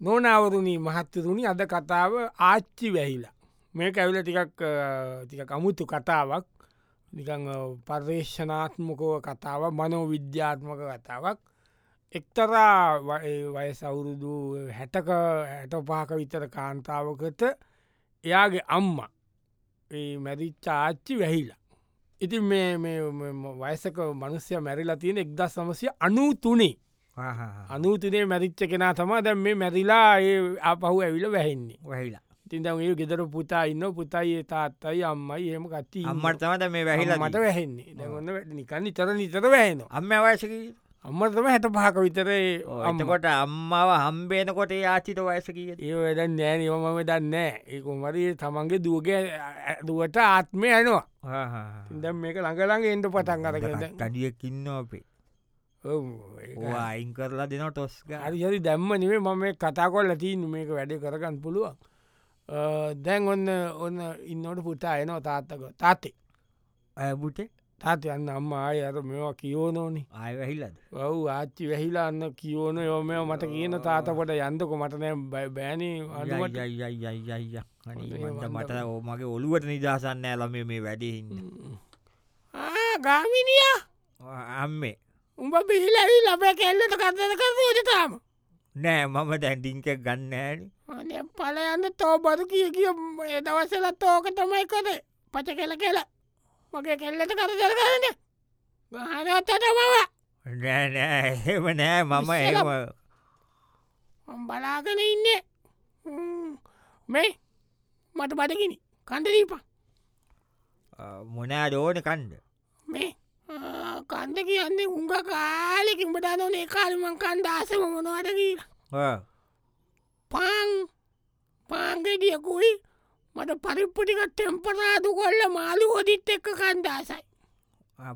නෝනවරුණී මහත්තතුනි අද කතාව ආච්චි වැහිලා. මේ ඇවිල ටිකක් අමුතු කතාවක් පර්ේෂනාත්මකව කතාව මනෝ විද්‍යාත්මක කතාවක් එක්තරා වය සවුරුදු හැටක හැට පාක විතර කාන්තාවකට එයාගේ අම්මා මැරිච්චාච්චි වැහිලා. ඉතින් වයසක මනුස්්‍ය මැරිලා තියෙන එක්ද සමසය අනූතුනේ අනූතිනේ මැරිච්ච කෙනා තමා දැම් මේ මැරිලා ඒ අපහු ඇවිල වැහෙන්නේ වැහිලා තින්දඒ ගෙදර පුතා ඉන්න පුතයි තාත්තයි අම්මයි එහෙම කත්ති අම්මටතමද මේ වැහිලා මට වැහෙන්නේ දැගොන්න නිකන් නිතර නිතර වැහෙන අම්ම වයසක අම්මතම හැට පහක විතරේ අම්මකොට අම්මාව හම්බේනකොට ආචිත වයසකීය ඒ වැඩ නෑ නිවමම දන්නෑ ඒකුමරි තමන්ගේ දුවග දුවට ආත්මය යනවා ඉදම් මේක ළඟලඟ එන්ට පටන් අරගෙන කඩියක් ඉන්න අපේ අයින් කරලා දෙන ටොස්ග හරිහරි දැම්ම නෙවේ මම මේ කතා කොල්ල තියන් මේක වැඩ කරගන්න පුළුවන් දැන් ඔන්න ඔන්න ඉන්නට පුතා එනවා තාත්තක තාත්තේ ඇබුට තාත යන්න අම්ම ආය අර මෙවා කියෝනෝනි ආය වැහිල්ලද ඔව් ආච්චි වැහිලාන්න කියෝන යොම මට කියන තාතකොට යන්දක මටනෑ බෑනී අඩුවට යයියයියයිය මට මගේ ඔළුවට නිදහසන්න ඇලම මේ වැඩිහින්න ගාමිනිය අම්මේ උඹ බිහිලවි ලබ කෙල්ලට කතක පෝජතාම නෑ මම දැන්ඩිංක ගන්න ඇන පල යන්න තෝ බදු කිය කිය දවසල තෝක තමයි කදේ පච කෙල කෙල මගේ කෙල්ලට කර දරගන්න ගහනත්තට බව නෑනෑ එහෙම නෑ මම ඉස්සෙල්ලා- ඒම මම බලාගෙන ඉන්නේ ම්ම්. මේ මට බඩගිනි කන්දරීපා මොනා දෝන කණ්ඩ මේ ආ, කන්ද කියන්නේ උංග කාලෙකින් බඩානෝනේ කාලමං කන්දාසම මොනවට කියලා පාං පාංගෙඩියකුයි මට පරිප්පටික ටෙම්පරාදු කොල්ල මාළු හොදිත් එක්ක කන්දාසයි.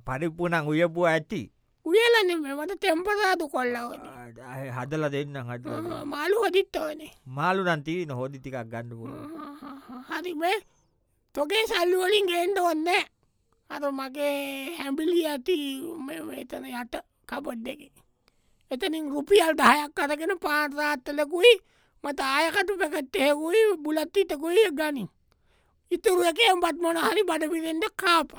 පරිපපුනං උයපුුව ඇති උයලන මෙමට තෙම්පරාදු කොල්ලව හදල දෙන්න හට මාළු හොදිත් ඕනේ මාලු නන්තිී නොහොදිටිකක් ගන්න පුුව හරිබේ තොගේ සල්ලුවලින් ගේන්ඩ ඔන්න අර මගේ හැම්බිලි ඇති එතන යට කබොඩ් දෙක එතනින් රුපියල් දහයක් අරගෙන පාර්රාත්තලකුයි මත ආයකටු පැකට්ටයකුයි බුලත්තිතකුයි ගනින් ඉතුරුවකෙන් බත් මොන හරි බඩපිරෙන්ට කාප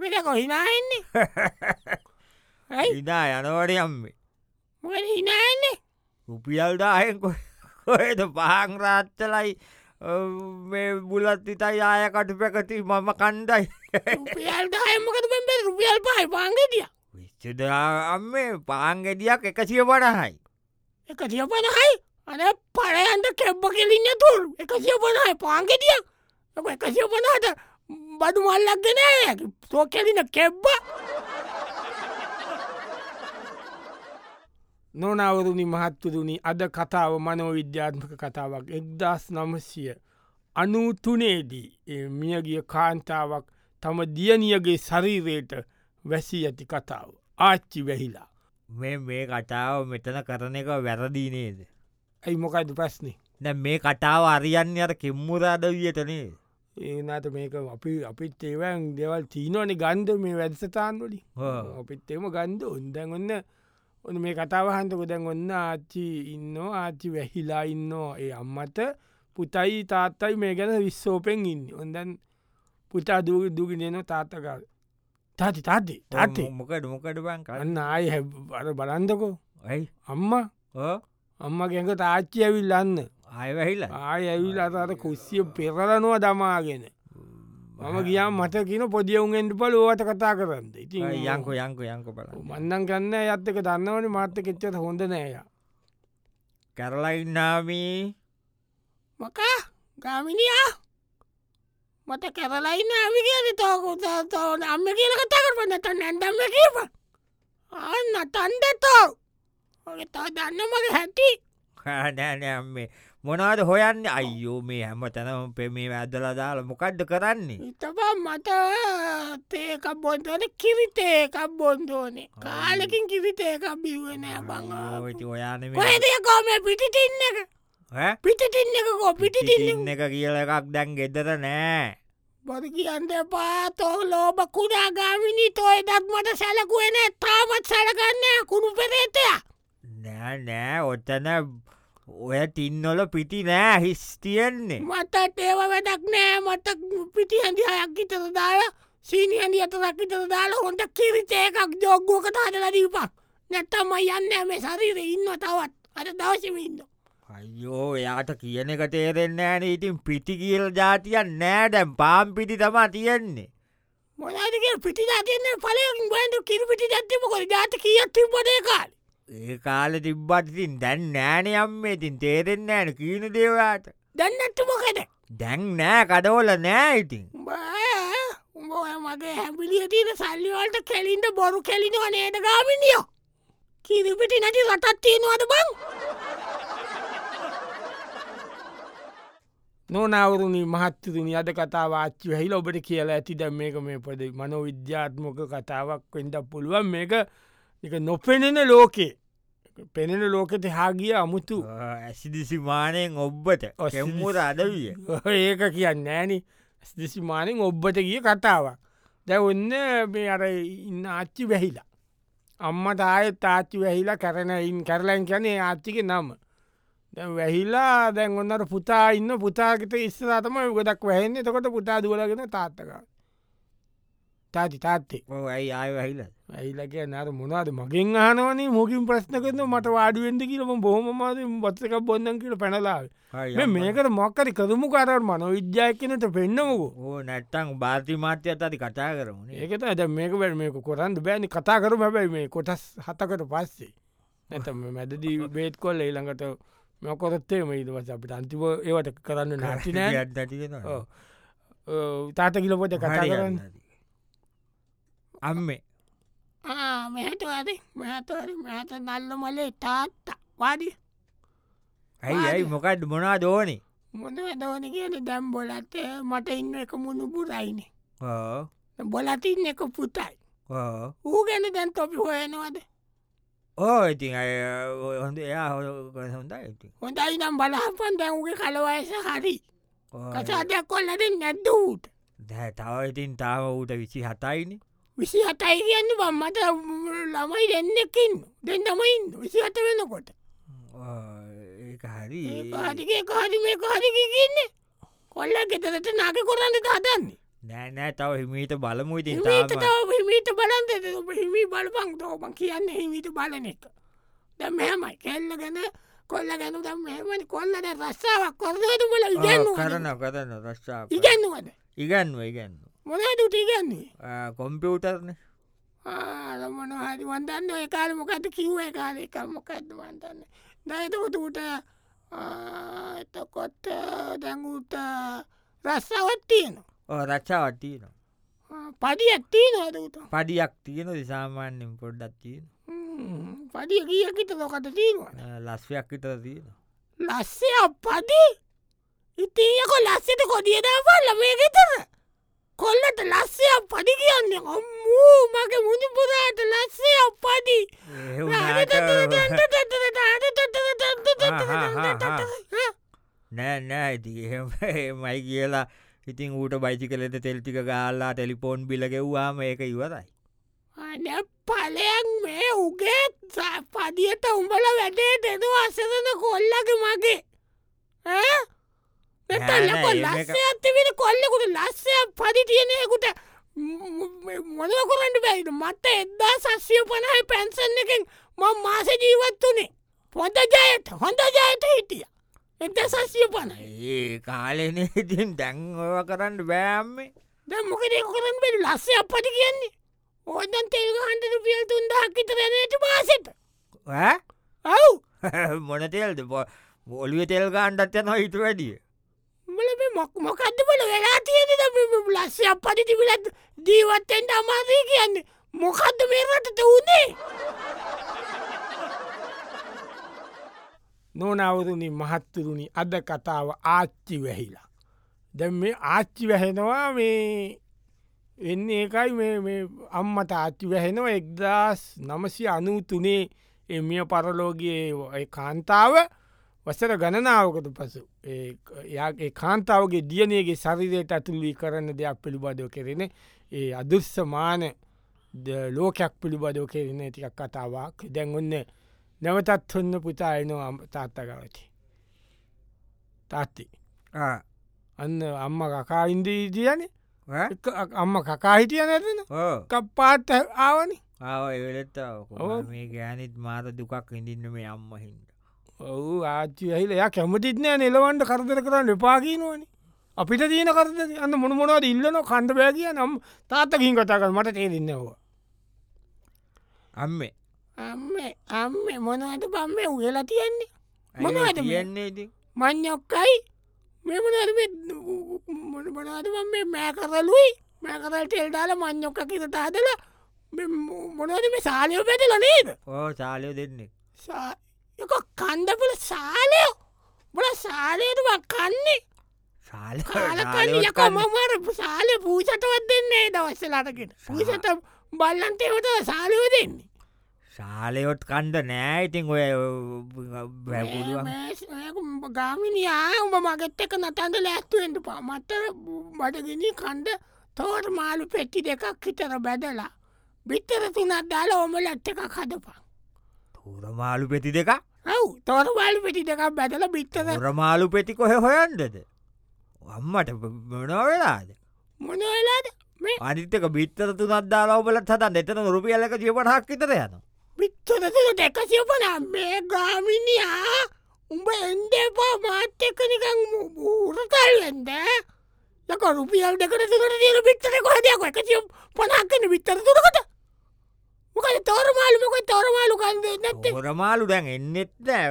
වෙන කොහිනාන්නේ ඇයි ඉදා යනවට යම්මේ මොකද හිනාන්නේ උපියල්දායෙන් කොහෙද පහන් රාත්තලයි බුලත්තිතයි ආයකට පැකති මම කණ්ඩයි රුපියල් දායමකතු පෙන්බෙ රුපියල් පහයි පාංගෙටිය විච්චදා අම්මේ පාංගෙඩියක් එකසිය පටහයි එක සියපනහයි අන පරයන්ට කෙබ්බ කෙලින්න තුර එක සියපනහයි පාංගෙටිය එක සියපනහට බඩු මල්ලක් දෙනෑ තෝ කෙලින කෙබ්බ නොනවරුණි මහත්තුරුණි අද කතාව මනෝ විද්‍යාත්මක කතාවක් එක්දස් නමසිය අනූතුනේදී ඒ මියගිය කාන්තාවක් තම දියනියගේ ශරීරයට වැසී ඇති කතාව ආච්චි වැහිලා මේ මේ කතාව මෙතන කරන එක වැරදිීනේද. ඇයි මොකයිද ප්‍රශ්නේ දැ මේ කතාව අරියන්න අර කෙම්මුරාද වියතනේ ඒනට මේක අපි අපිත් ඒවන් දෙවල් තිීනවන ගන්ධ මේ වැදසතාන් වලි ඔව්. අපිත් එම ගන්ධ උන්දැන් ඔන්න ඔන්න මේ කතාවහන්තක දැන් ඔන්න ආච්චි ඉන්න ආච්චි වැහිලා ඉන්න ඒ අම්මට පුතයි තාත්තයි මේ ගැන විස්සෝපෙන් ඉන්න ඔොන්දැන් පුතා දුව දුගෙනන තාත්තකාල තාති තාති තාති මොකට මොකට බං කරන්න අන්න ආය අර බලන්දකෝ ඇයි අම්ම අම්ම ගැක තාච්චි ඇවිල්ලන්න ආයවැහිල ආය ඇවිල් අතර කුස්සිය පෙරලනවා දමාගෙන මම ගියම් මට කියන පොදියවුන්ෙන්ට පල ඕවට කතා කරන්න ඉති යංකෝ යංකෝ යංකෝ බල මන්නන් ගන්න ඇත්තක දන්නවන මාර්තකෙච්චත හොඳ නෑය කරලයින්නාමී මකා ගාමිනියා මට කැරලයින්න අවිගෙන තෝකුතෝ අම්ම කියල කතා කරපන්න ත නැන්දම්ම කියප අන්න තන්දතෝ ඔගේ තව දන්න මගේ හැටි නෑනෑම්මේ මොනාද හොයන්න අයියෝ මේ හැම තැනම පෙමේ වැදල දාලා මොකක්ද කරන්නේ ඉතපා මට තේකක් බොන්දන කිරිතේකක් බොන්දෝනේ කාලකින් කිරිතේකක් බිවෙනෑ බං ඔයිති ඔයාන කොයදකෝම පිටිටින්න එක පිටිටින්නකෝ පිටිටින්න එක කියල එකක් දැන් ගෙදර නෑ බොද කියන්න පාතෝ ලෝබ කුඩා ගාමිනි තෝය දත්මට සැලකුවෙන තාමත් සැලගන්න කුණු පෙරේතය නෑ නෑ ඔත්තන ඔය තින්නොල පිටි නෑ හිස් තියෙන්නේ මතත් ඒව වැඩක් නෑ මත පිටි හැඳි හයක් ඉතර දාලා සීනි හැඳි අතරක් ඉතර දාලා හොට කිරිතයකක් ජෝග්ගුවකට හදලා දීපක් නැත්තම යන්න මේ ශරීර ඉන්න තවත් අද දවසම ඉන්න අයෝ එයාට කියන එක තේරෙන්න ෑන ඉතින් පිටි කියල් ජාතියන් නෑ දැම් පාම් පිටි තමා තියෙන්නේ මොනාදක පිටි තියන්න පලයක් බන්ඩු කිරිපිටි ඇත්තම කොට ජාත කියත් තිබොටේකාල් ඒ කාල තිබ්බත් ඉතින් දැන් නෑනේ අම්මේ ඉතින් තේරෙන්න ෑන කීන දේවාට දන්නත්තුමොකද දැන් නෑ කඩවල නෑ ඉතින් උඹ ඔය මගේ හැබිලිය තියෙන සල්ලිවලට කෙලින්ට බොරු කෙලිනව නේද ගාමිනිියෝ කිරිපිටි නැති රටත් තියෙනවාද බං නොනවරුණි මහත්තතුනි අද කතාව ආච්චි හහිල ඔබට කියලා ඇති දැම් මේක මේ පද මනෝ විද්‍යාත්මක කතාවක් වෙන්ඩ පුළුවන් මේක එක නොපෙනෙන ලෝකේ පෙනෙන ලෝකෙට හාගිය අමුතු ඇසිදිසිමානයෙන් ඔබ්බට ඔසමුර අදවිය ඒක කියන්න ෑනි ස්දිසිමානෙන් ඔබ්බට ගිය කතාවක් දැ ඔන්න මේ අර ඉන්න ආච්චි වැහිලා අම්ම තාය තාච්චි වැහිලා කරනයින් කරලයින් කනේ ආච්චික නම දැ වැහිලා දැන් ඔන්නට පුතා ඉන්න පුතාගත ඉස්සරතම ගොඩක් වැහෙන්නේ තකොට පුතා දුවලගෙන තාත්තක තාති තාත්තේ ඇයි ආය වැහිල ඇහිලක නර මොනාද මගින් අහනවනේ මොකින් ප්‍රශ්න කරන මට වාඩුවෙන්ද කියලම බොහොමද බත්තක බොන්දන් කියල පැනලාව මේ මේකට මොක්කරි කරමු කරර මනො විද්‍යායක්කනට පෙන්න්නමකෝ ඕ නැට්ටං භාතිමාත්‍යයත් අති කටා කරමුණේ ඒකත ඇද මේක වැ මේක කොරන්ද බෑනි කතා කරම හැබැයි මේ කොටස් හතකට පස්සේ නැත මැදදී බේත් කොල්ල ඊළඟට මොකොරත්තේ මයිදවස අපිට අන්තිව ඒවට කරන්න නැතිනෑ ඔව්. තාත කිලපොට කතා කරන්න අම්මේ මෙහටවාද මෙහතර මෙහත නල්ල මලේ තාත්තා වාඩි ඇයි ඇයි මොකක්ද මොනා දෝනි මොන දෝන කියන දැම් බොලත් මට ඉන්න එක මුණුපුරයිනේ ඕ බොලතින් එක පුතයි ඕ ඌ ගැන දැන් තොපි හොයනවාද ඕ ඉතින් අය ඔය හොඳ එයා හො හොඳ ඉති හොඳයි නම් බලහපන් දැවගේ කලවයස හරි කසාදයක් කොල්ලද නැද්දූට දැ තව ඉතින් තාව ඌට විසි හතයිනි විසි හතයි කියන්න බම්මට ළමයි දෙන්නකින් දෙන්නමයින් විසි හත වෙනකොට ඒ හරි හරිගේ හරි මේ හරිකි කියන්නේ කොල්ල ගෙතරට නාක කොරන්නට හදන්නේ නෑනෑ තව හිමීට බලමු ඉතින් හිමීට තාම. තව හිමීට බලන් දෙද හිමි බලපං තෝපන් කියන්න හිමීට බලන එක දැ මෙහමයි කෙල්ල ගැන කොල්ල ගැනු දම් මෙමනි කොල්ලට රස්සාාවක් කොරදතු බල ඔව්, කරන ඉගැන්නුවන කරන රස්සා ඉගැන්නුවද ඉගන්ව ඉගන්න මොනදුට ඉගන්නේ කොම්පියුටර්න ආලමන හරි වන්දන්න ඒකාල මොකද කිව්ව කාල එක මොකක්ද වන්දන්න නැතකොට ඌට ආ, එතකොට දැඟූට රස්සවත් තියන රච්චාවටීන පඩි ඇත්තිී නොදූත පඩියක් තියෙන දිසාමාන්‍යෙන් පොඩ්ඩක් තියෙන පඩිය ගියකිට ලොකට තිීවන ලස්වයක් විතර තියෙන ලස්සේ අපපදි ඉතියකො ලස්සට කොඩියදාපල්ල මේ ගෙතර කොල්ලට ලස්සේ පඩි කියන්නේ ඔම්මූ මගේ මුදි පුරාට ලස්සේ අපපදිී ඒ වුණාට නෑ නෑ නෑ ඉති මයි කියලා ඉතින් ඌට බයිචි කලෙද තෙල්ටික ගාල්ලා ටෙලිපෝන් බිලගෙව්වාම ඒක ඉවරයි පලයක් මේ උගේ ස- පදියට උඹල වැඩේ දෙද අසදන කොල්ලක මගේ නෑ නැතල්ල නෑ, කොල් එහෙම එක- ලස්සේ ඇතිවෙන කොල්ලෙකුට ලස්සය පදි තියනයකුට මොද කොරට බැයිද මත්ත එද්දා සස්්‍යය පනහයි පැන්සන් එකෙන් ම මාස ජීවත් වනේ පොඳ ජයට හොඳ ජයට හිටිය එත සස්්‍යය පනයි ඒ කාලෙන ඉතින් දැන්ව කරන්න බෑම්මේ දැ මොකද ඒක කරන්න බෙන ලස්සේ අපට කියන්නේ ඕදන් තෙල්ග හන්ටට පියල් තුන්දහක්කිත රැනයට පාසට ඈ? ඔව් මොන තෙල්ද බොලිය තෙල් ගාන්ඩත් යන හිතු වැඩිය මලබ මොක් මොකක්ද බල වෙලා තියෙන ලස්සේ අපට තිබිලත් දීවත්තෙන්ට අමාදී කියන්නේ මොකක්ද මේ රටට වනේ නොනවරුණි මහත්තරුණි අද කතාව ආච්චි වැහිලා. දැ මේ ආච්චි වැහෙනවා මේ එන්න ඒකයි මේ- මේ අම්මට ආච්චි වැහෙනවා එක්දස් නමසි අනූතුනේ එමිය පරලෝගයේ ඒ කාන්තාව වසර ගණනාවකට පසු ඒ- එයාගේ කාන්තාවගේ දියනයගේ ශරිරයට ඇතුළි කරන්න දෙයක් පිළිබඳව කෙරෙන ඒ අදුස්සමාන ද- ලෝකයක් පිළිබඳව කෙරෙන ටිකක් කතාවක් දැන් ඔන්න නැවතත් හොන්න පුතා එනවා තාත්තකවති තාත්ති අන්න අම්ම කකා ඉන්දී තියන අම්ම කකා හිටිය නැතන ඕ කප්පාත් ආවනි ආව එවලෙත්තාව ඔව්. මේ ගෑනෙත් මාර දුකක් ඉඳින්න මේ අම්මහින්ට ඔවු ආච්චි ඇහිල ය කැමතිත්නෑ නෙලවන්ට කරදර කරන්න එපාකිීනුවනි අපිට දීන කරද අන්න මොනමොනවද ඉල්ලන කණ්ඩ බෑ කිය නම් තාත්තකින් කතාකර මට තේරන්න ඕ අම්මේ අම්ම අම්ම මොනවට පම්ම උගලා තියෙන්නේ මොනවද මේ? කියන්නේ ඉති මං්ඥොක්කයි මෙමනරම මොනමනාද මේ මෑ කරලුයි මෑකරල් ටෙල්දාල මං්ඥොක්ක කියට හදල මොනද මේ සාලයෝ පැටල නේද ඕ සාලයෝ දෙන්නේ සා- යකෝ කන්දපුල සාලයෝ බල සාලයටමක් කන්නේ සාල කාලකන්න යක මමර සාලය පූෂටවත් දෙන්නේ දවස්සලාටකට පූෂට බල්ලන්ටේවට සාලයෝ දෙන්නේ සාලයොත් කණ්ඩ නෑ ඉතින් ඔය බැපුුවන් ගාමිනියා උඹ මගෙත් එක නතන්ද ලැස්තුවෙන්ට පමත්තර බඩගෙන කණ්ඩ තෝර් මාලු පෙට්ටි දෙකක් හිතර බැදලා බිත්තර තුනත් දාලා ඔම ලට්ට එකක් හදපා තොරමාලු පෙති දෙක ඇව් තෝර මාලු පෙටි දෙකක් බැදල බිත්තර තොරමාලු පෙති කොහ හොයන්දද අම්මට මොනෝ වෙලාද මොනවෙලාද මේ අනිත්තක බිත්තර තුනත්දාලාවලත් හතන් එතන රුපියල්ලක ජියපටහක් විතර යන බිත්තර තුන දෙකසිපන මේ ගාමිනියා උඹ එන්ඩපා මාත්‍ය එකනිකං ඌරතල් වෙන්ද ලක රුපියල් දෙකට තුකට තියන බිත්තර කොහදයක් එකසිය පනක්කන බිත්තර තුරකට මොකද තෝරමාලුමක තෝරමාලු කන්ද නැත්ත තොරමාලු දැන් එන්නෙත් අනේ.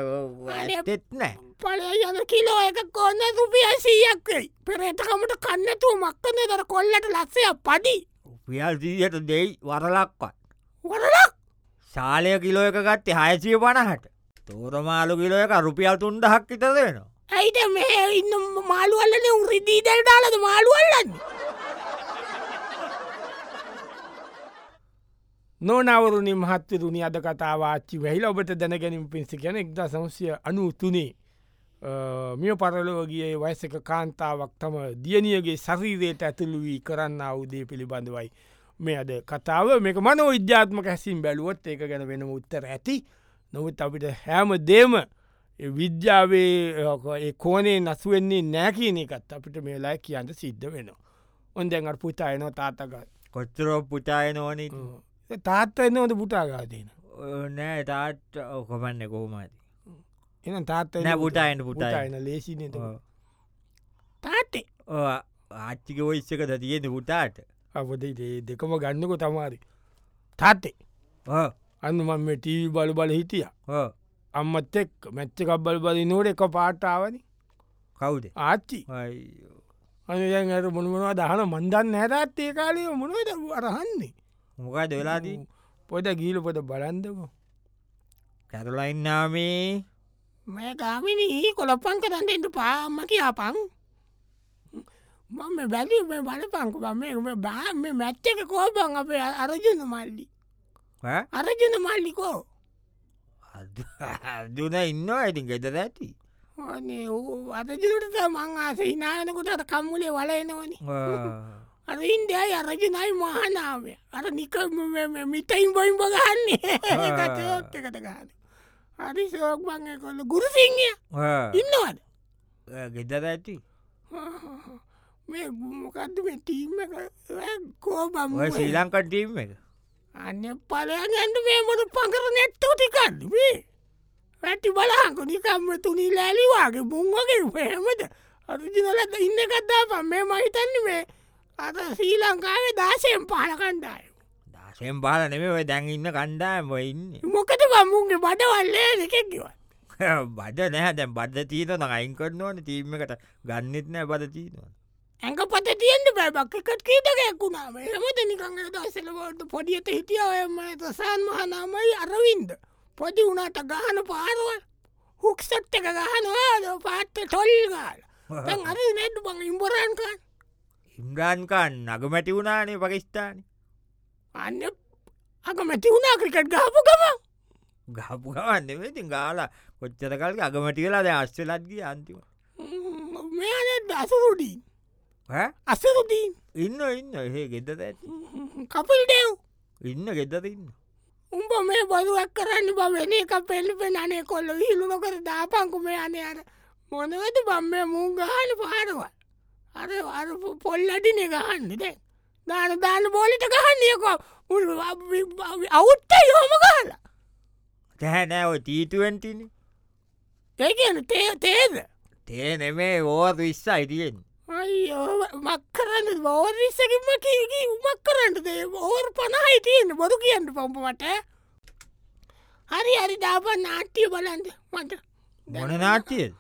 නෑ ඇත්තෙත් නෑ පලය යන කිලෝ එක කොන්න රුපිය සීයක්කයි පෙරේතකමට කන්නතුව මක්කනේ දර කොල්ලට ලස්සය පඩි රුපියල් දීයට දෙයි වරලක්වත් වරලක් ශාලය කිලෝ එක ගත්තේ හයසිය පණහට තෝරමාලු කිලෝ එක රුපියල් තුන්ඩහක් විතර දෙනවා ඇයිට මෙහ ඉන්න මාළුවල්ලන උරිදීදැල් දාලද මාළුවල්ලන්න නොනවරුණි මහත්තරුණි අද කතාවාච්චි වැහිල ඔබට දැනගැනින් පින්සි ගැන එක්ද සංසය අනුතුනේ මිය පරලෝගිය වයසක කාන්තාවක් තම දියනියගේ ශරීරයට ඇතුළු වී කරන්න අවුදේ පිළිබඳවයි. මේ අද කතාව මේක මනෝ විද්‍යාත්ම කැසින් බැලුවොත් ඒක ගැන වෙන උත්තර ඇති නොවත් අපිට හැම දේම ඒ විද්‍යාවේ අ, ඒ කෝනේ නසුවෙන්නේ නෑකන එකත් අපිට මේලා කියන්න සිද්ධ වෙනවා. ඔන් දැන්ට පුතායන තාතකත්. කොච්චරෝ පුටාය නොනි තාත්ත එන්නවද පුටාගාතින නෑ තාට් කොමන්න කොහමති එන තාත්ත නෑ, පුටායන, පුටායන. ලේසින තාත්තේ ආච්චික ඔයිස්සක දතියෙන පුටාට අපදේ දෙකම ගන්නකො තමාරි තාත්තේ ඕ, අන්න මම මේ ටීවී බල බල හිටිය ඕ, අම්මත් එක් මැච්චකක් බල බල නෝට එක පාටාවනි කවුද ආච්චි අයියෝ. අනයන් ඇයට මොනමනවා දහන මන්දන්න හැරත්තේ කාලය මොනවද අරහන්නේ මොකද වෙලාදී පොට ගීල පොට බලන්දම කැරලයින්නාමේ මේ ගාමිනී කොළොපංක තන්ටෙන්ට පාමකි අපං මම බැලි බලපංකු බම බාම මැච්චක කෝපන් අපේ අරජන මල්ලි ඈ? අරජන මල්ලිකෝ අද- අර්ජුන ඉන්නවා ඇතින් ගෙදර ඇති ඕනේ ඌ අරජනට මං ආස හිනායනකුට කම්මුලේ වලයනවනි ආ. අර ඉන්දයයි අරජනයි මහනාවය අර නික මිටයින් බොයිම් බගන්නේ ඒකට ගන්න හරි සෝක් බං කොල්ල ගුරුසිංහය ආ. ඉන්නවද ගෙදර ඇති මේ මොකක්ද මේ ටීම කෝබම් ඔය ශ්‍රී ලංකටීම් එක අන්න පලයන් ඇට මේ මොට පකර නැත්තෝ ටිකන්න මේ වැටි බලහකු නිකම්ම තුනි ලෑලිවාගේ බුංවගේ පහමද අරජිනලද ඉන්න කත්තා පම් මේ මහිතන්න මේ අත ශ්‍රී ලංකාවේ දාශයෙන් පාලකණ්ඩාය දශයෙන් බාල නෙමේ ඔය දැන් ඉන්න කණ්ඩායම ඔය ඉන්න මොකද බම්මුන්ගේ බඩවල්ලේ දෙකෙක්කිව බඩ නෑ දැම් බඩ තීතන අයින් කරන්න ඕන තීම එකට ගන්නෙත් නෑ බද තීනවා ඇඟ පත තියෙන්ට බැබක් එකට කීටකැක්ුණාම එමද නිකංග දසලවට පොඩියත හිටියවම සසාන් මහනාමයි අරවින්ද පොඩි වුණට ගහන පාරුවල් හුක්සට් එක ගහනවාද පාත්ත තොල් ගාල තැන් අර නැට් බං ඉම්බරන්කන් ඉම්රාන්කාන් නගමැටි වුණානේ පකිස්ථාන අන්න අකමැති වුණා ක්‍රිකට් ගාපු ගම ගහපු ගවන්නවෙති ගාලා කොච්චර කල්ක අගමටි වෙලා ද අස්සලත්ගේ අන්තිම මෙයාන දසුරුඩීන් අසරුදීන් ඉන්න ඉන්න එහෙ ගෙදර ඇති කපල් දෙව් ඉන්න ගෙදර ඉන්න උඹ මේ බොරුවක් කරන්න බ වෙන එක පෙල්ලිපෙන අනේ කොල්ල හිලුණ කර දාපංකුම යන අර මොනවද බම්ම මූන් ගහන පහරව අර අර පොල්ලටින ගහන්න දැ දාන දාන බෝලිට ගහන්නයකෝ අවුත්ත යොම ගහලා තැහැනෑ ඔය තීටුවෙන්ටින ඒකන තේ තේද තේ නෙමේ ඕත් විස්ස අයිතියෙන් අයියෝ මක් කරන්න බෝරිස්සකින්ම කීකී උමක් කරන්නද ඕර් පණහයි තියෙන බොරු කියන්න පොම්පමට හරි හරි දාපන් නාට්‍යය බලන්ද මට මොන නාට්‍යයද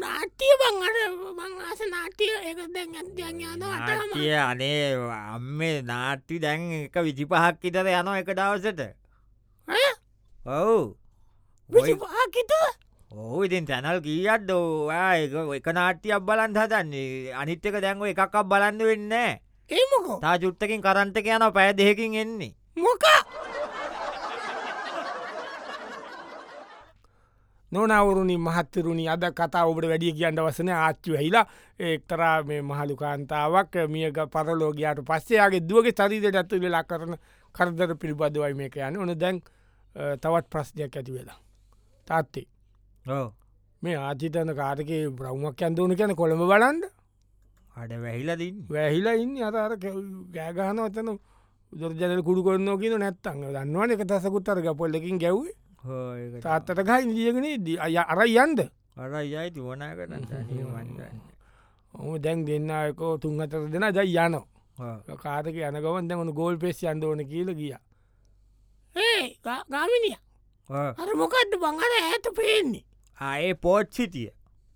නාට්‍යය බං අර මං ආස නාට්‍යය ඒක දැන් අධ්‍යඥාන අටම නාට්‍යය අනේ අම්ම නාට්ටි දැන් එක විජිපහක් ඉතර යන එක දවසට ඔවු විපාකිත ඕ ඉතින් තැනල් කීයත් දෝවා එක නාට්‍යයක් බලන් හතන්නේ අනිත්්‍යක දැන්ව එකක් බලන්න වෙන්න ඒමකෝ තා චුට්ටකින් කරන්ටක යන පෑ දෙහකින් එන්නේ මොක නොනවරුණි මහත්තරුණි අද කතා ඔබට වැඩිය කියන්න වසන ආච්චු හහිලා එක්තරා මේ මහලු කාන්තාවක් මියක පරලෝගයාට පස්සේයාගේ දුවගේ චරිතයට ඇත්තු වෙලා කරන කරදර පිළිබඳවයි මේක යන ඕන දැන් අ, තවත් ප්‍රශ්නයක් ඇති වෙලා තාත්තේ ඕ මේ ආචිතන කාරක බ්‍රහ්මක් ඇන්දෝන කියන කොළඹ බලන්ඩ අඩ වැහිලදන්න වැහිලා ඉන්න අතර ගෑගහන වතන දුරජල කුඩු කොන්න කියන නැත්තන් දන්නවන එක තසකුත් අරග පොල්ලකින් ගැව් තාත්තට ගයි දියගෙන දී අය අර යන්ද අර යයි තිවනා කරන්න තනිවන්ගන්න ඔහු දැන් දෙන්නකෝ තුන් අතර දෙෙන ජයි යනෝ කාතක යනකවන් දැමන ගෝල් පෙස් යන්දෝන කියල ගිය ඒ ගාමිනිය අර මොකක්ද බංහර ඇත පේන්නේ ආයේ පෝට් සිටිය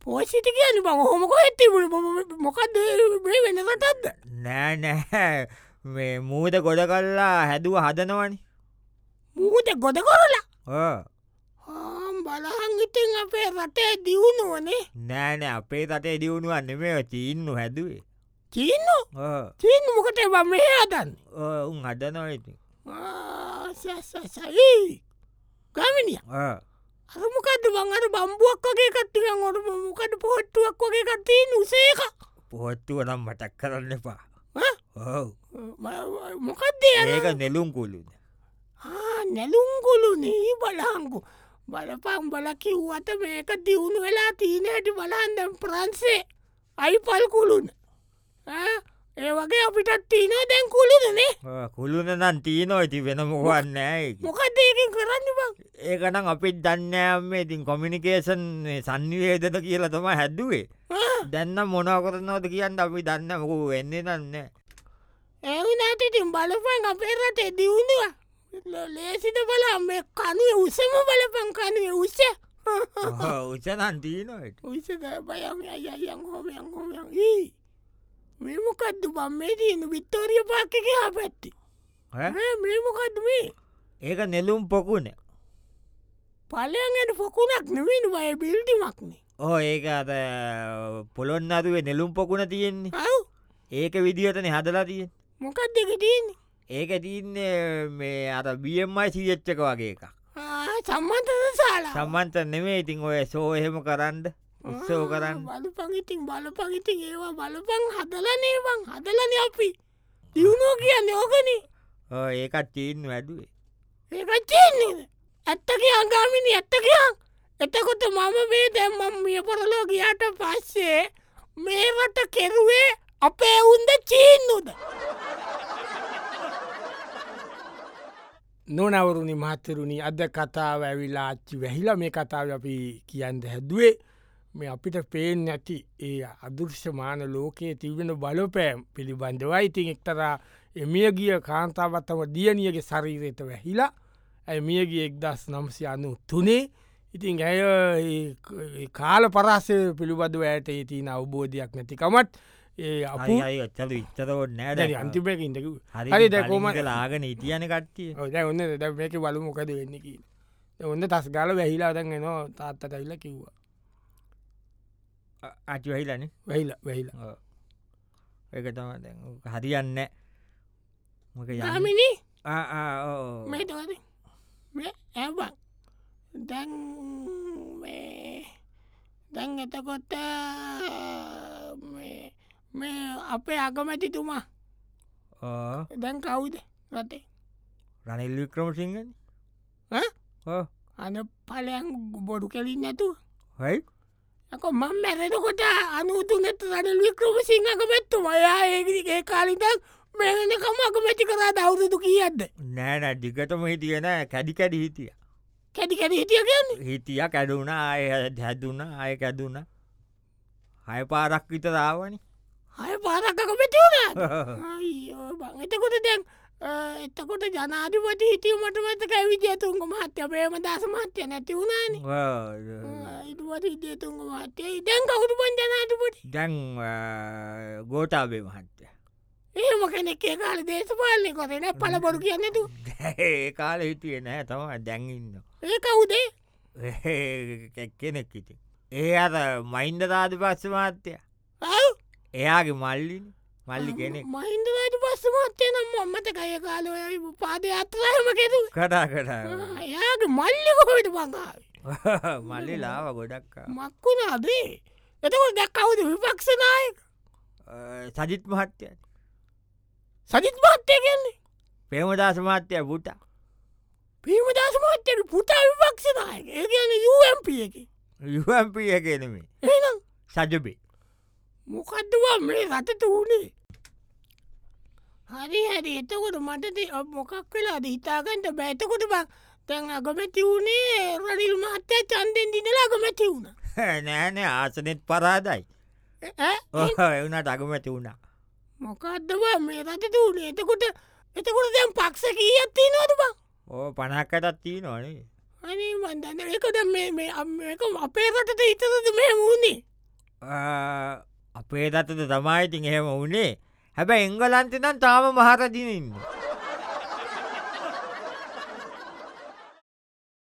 පෝෂිටි කියන බං හොමක ඇත්තිබුණ මොකක්ද මේ වෙන කටත්ද නෑ නැහැ මේ මූද ගොඩ කල්ලා හැදුව හදනවනි මූත ගොඩ කොරලා ඕ හාම් බලහංගිතෙන් අපේ රටේ දියුණුවනේ නෑනෑ අපේ තටේ දියුණුවන්න මේ චීන්නු හැදුවේ චීන්නෝ චීන් මොකට බම හදන්න උන් හදනොයිති Ah, සැයි ගමිනිය අරමකද බංහර බම්බුවක් වගේ කත්තිකන් ඔොට මොකට පොට්ටුවක් වගේ කත්තිී නුසේක පොහොත්තුව නම් මටක් කරන්න එපා ඈ? ඔව් මොකක්දේ ඒක නෙලුම් කුලුද Ah, නැලුම්ගුලු නී බලංගු බලපං බල කිව්වට මේක දියුණු වෙලා තිීනයට බලන්දම් ප්‍රන්සේ අයි පල් කුළුන් ඈ? ඒ වගේ අපිටත් තිීනෝ දැන් කුළුදනේ කුළුන නම් තිීනොයිති වෙන මොකන්න මොකක්ද ඒකින් කරන්න බං ඒකනම් අපිත් දන්නෑම ඉතින් කොමිනිිකේෂන් සන්නිවේදත කියලා තම හැද්දුවේ ආ! දැන්න මොනකොරනවද කියන්න අපි දන්න මොකු වෙන්නේ දන්න ඇවිනාටටින් බලපන් අපේරට දියුණුව ලේසිට බලම් මේ කනුව උසම බලපන් කනුව උස උචනන් තිීනොයිට උස බයම් අයයන් හොමයන් හොමයන් ඒ මෙමොකක්ද බම් මේ තියන විිත්තෝරිය පාක්කක පැත්ති මේමොකක්ද මේ ඒක නෙලුම් පොකුණ පලයන්ට පොකුණක් නෙවෙන බය බිල්ටිමක්නේ ඕ ඒක අත පොළොන් අදුවේ නෙලුම් පොකුණ තියෙන්නේ අව ඒක විදිහටන හදලා තියෙන් මොකක් දෙක තියන්නේ ඒක තියන්නේ මේ අත බියම්මයි සීච්චක වගේ එකක් සම්මන්තද සාලා සම්මන්ත නෙමේ ඉතින් ඔය සෝහෙම කරන්න උත්සෝ කරන්න බලු පගිතින් බල පගිතින් ඒවා බලපං හදලනේවන් හදලන අපි දියුණෝ කියන්න ඕකනේ ඔව් ඒකත් චීන් වැඩුවේ ඒකච්චේන්නේද ඇත්තගේ අගාමිනි ඇත්තකයක් එතකොට මම මේ දැම්මම් මිය පොරලෝ ගියාට පස්සේ මේවට කෙරුවේ අපේ උන්ද චීන්නුද නොනවරුණි මහතරුණි අද කතාව ඇවිලා අච්චි වැහිලා මේ කතාව අපි කියන්න හැදුවේ මේ අපිට පේෙන් නැති ඒ අදෘශ්‍යමාන ලෝකයේ තිවෙන බලපෑම් පිළිබඳවයි ඉතින් එක්තරා එමිය ගිය කාන්තාවත්තම දියනියගේ ශරීරයට වැහිලා ඇ මියගේ එක්දස් නම්සි අනු තුනේ ඉතින් ඇය ඒ ක- ඒ කාල පරාසය පිළිබඳව ඇයට ඒතින අවබෝධයක් නැතිකමත් ඒ අප අයි ඔච්චල විච්චතකොට නෑ අන්තිපයක ඉඳකු හරි හරි දැකෝම දැකෝමට ලාගෙන ඉටියන කට්ටිය ඔය ඔන්න දැක බලු මොකද වෙන්න කියල ඔන්න තස් ගාල වැහිලා දැන් එනවා තාත්ත කැල්ල කිව්වා අටිවහිලන වැහිලා වැහිලා එක තම දැන් ඕක හරියන්න මොක යන්න මිනි ආ මේ තවද ඇබක් දැන් මේ දැන් එතකොට මේ- මේ අපේ අගමැතිතුමා දැන් කවුද රටේ රනිල් වික්‍රම සිංහන ඕ අන පලයන් බොඩු කෙලින් නැතු හයි යක මං මැරෙනකොට අනුතුනෙත් රනිල් වික්‍රම සිංහක මෙත්තු මයා ඒගරිගේ කාලිට මෙරෙනකමක මැති කරා දෞරුතු කියද නෑන දිගටම හිටියන කැඩිකැඩි හිටිය කැඩිකැඩ හිටියගන්නේ හිටිය කැඩුුණ අය හැදුන්න අය කැදුන්න හය පාරක් විත රාවනි හය පාරක්කක පැතිවුණ අයියෝ බං එතකොට දැන් අ, එතකොට ජනාධිපති හිටිය මට මතක විජයතුන්ග මහත්‍ය පේම දස මහත්‍ය නැති වුණානි ඉතුවට විජයතුන්ග මහත්‍යයි දැන් කවුරු පන් ජනාධපට දැන් ගෝටාබේ මහන්තය ඒම කෙනෙක් ඒ කාල දේශපාලනය කොරන පලබොරු කියන්නතු ඒ කාල හිටිය නෑ තම දැන්ඉන්න ඒ කවුදේ කෙනෙක් ඉති ඒ අර මයින්ද රාධ පස්ස මාත්‍යය ඇව් එයාගේ මල්ලින් මල්ලි කෙනෙක් මහින්දරයට පස්සමත්තය නම් මොම්මත කය කාලය පාද අත්වහම කෙතු කටා කටා එයාගේ මල්ලිකොකට පඟාව මල්ලි ලාව ගොඩක් මක්කුණාදේ එතකොට දැක් කවුද විපක්ෂනායක සජිත් මහත්‍යය සජිත් පත්තය කියන්නේ පෙමදා සමාත්‍යය පුට පීම දසමත්තයට පුතා විපක්ෂනායක ඒ කියන යම්ප එක යුවම්පිය කෙනෙමේ ඒනම් සජබේ මොකක්දවා මේ රටට වුණේ හරි හරි එතකොට මටද මොකක් වෙලාද හිතාගන්ට බැතකොට බක් තැන් අගමැති වුණේ රනිල් මහත්තය චන්දෙන් දිනලා අගමැති වුණ නෑනෑ ආසනෙත් පරාදයි එවුණට අගමැති වුණා මොකක්දවා මේ රටට වුණේ එතකොට එතකොට දැම් පක්ෂ කීයත්ති නොතුබ ඕ පනක්කටත් තිී නොනේ අනේ මන්දන්න එකද මේ මේ අම්ක අපේ රටට හිතද මේ වුණේ අපේ දත්තද තමයිඉතින් එහෙම වුණේ හැබැ එංගලන්තිනම් තාම මහරදිනන්න